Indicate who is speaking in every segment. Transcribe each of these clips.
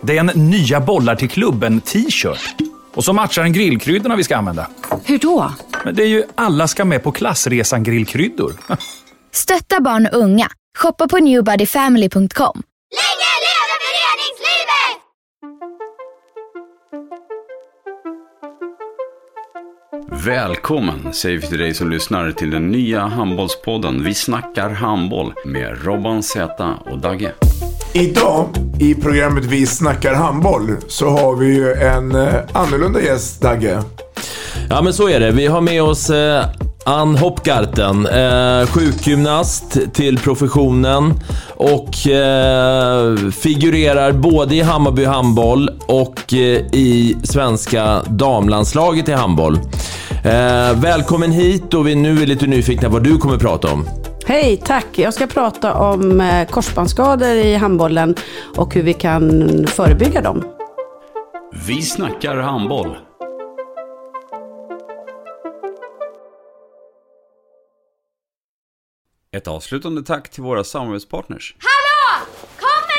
Speaker 1: Det är en nya bollar till klubben-t-shirt. Och så matchar den grillkryddorna vi ska använda.
Speaker 2: Hur då?
Speaker 1: Men det är ju alla ska med på klassresan grillkryddor.
Speaker 3: Stötta barn och unga. Shoppa på newbodyfamily.com.
Speaker 4: Länge leve föreningslivet!
Speaker 5: Välkommen säger vi till dig som lyssnar till den nya handbollspodden Vi snackar handboll med Robban Z och Dagge.
Speaker 6: Idag i programmet Vi snackar handboll så har vi ju en eh, annorlunda gäst, Dagge.
Speaker 7: Ja men så är det. Vi har med oss eh, Ann Hoppgarten, eh, sjukgymnast till professionen och eh, figurerar både i Hammarby handboll och eh, i svenska damlandslaget i handboll. Eh, välkommen hit och vi nu är lite nyfikna vad du kommer prata om.
Speaker 8: Hej, tack. Jag ska prata om eh, korsbandsskador i handbollen och hur vi kan förebygga dem.
Speaker 5: Vi snackar handboll. Ett avslutande tack till våra samarbetspartners.
Speaker 4: Hallå! Kommer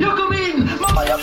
Speaker 9: Jag kom in! Mamma, jag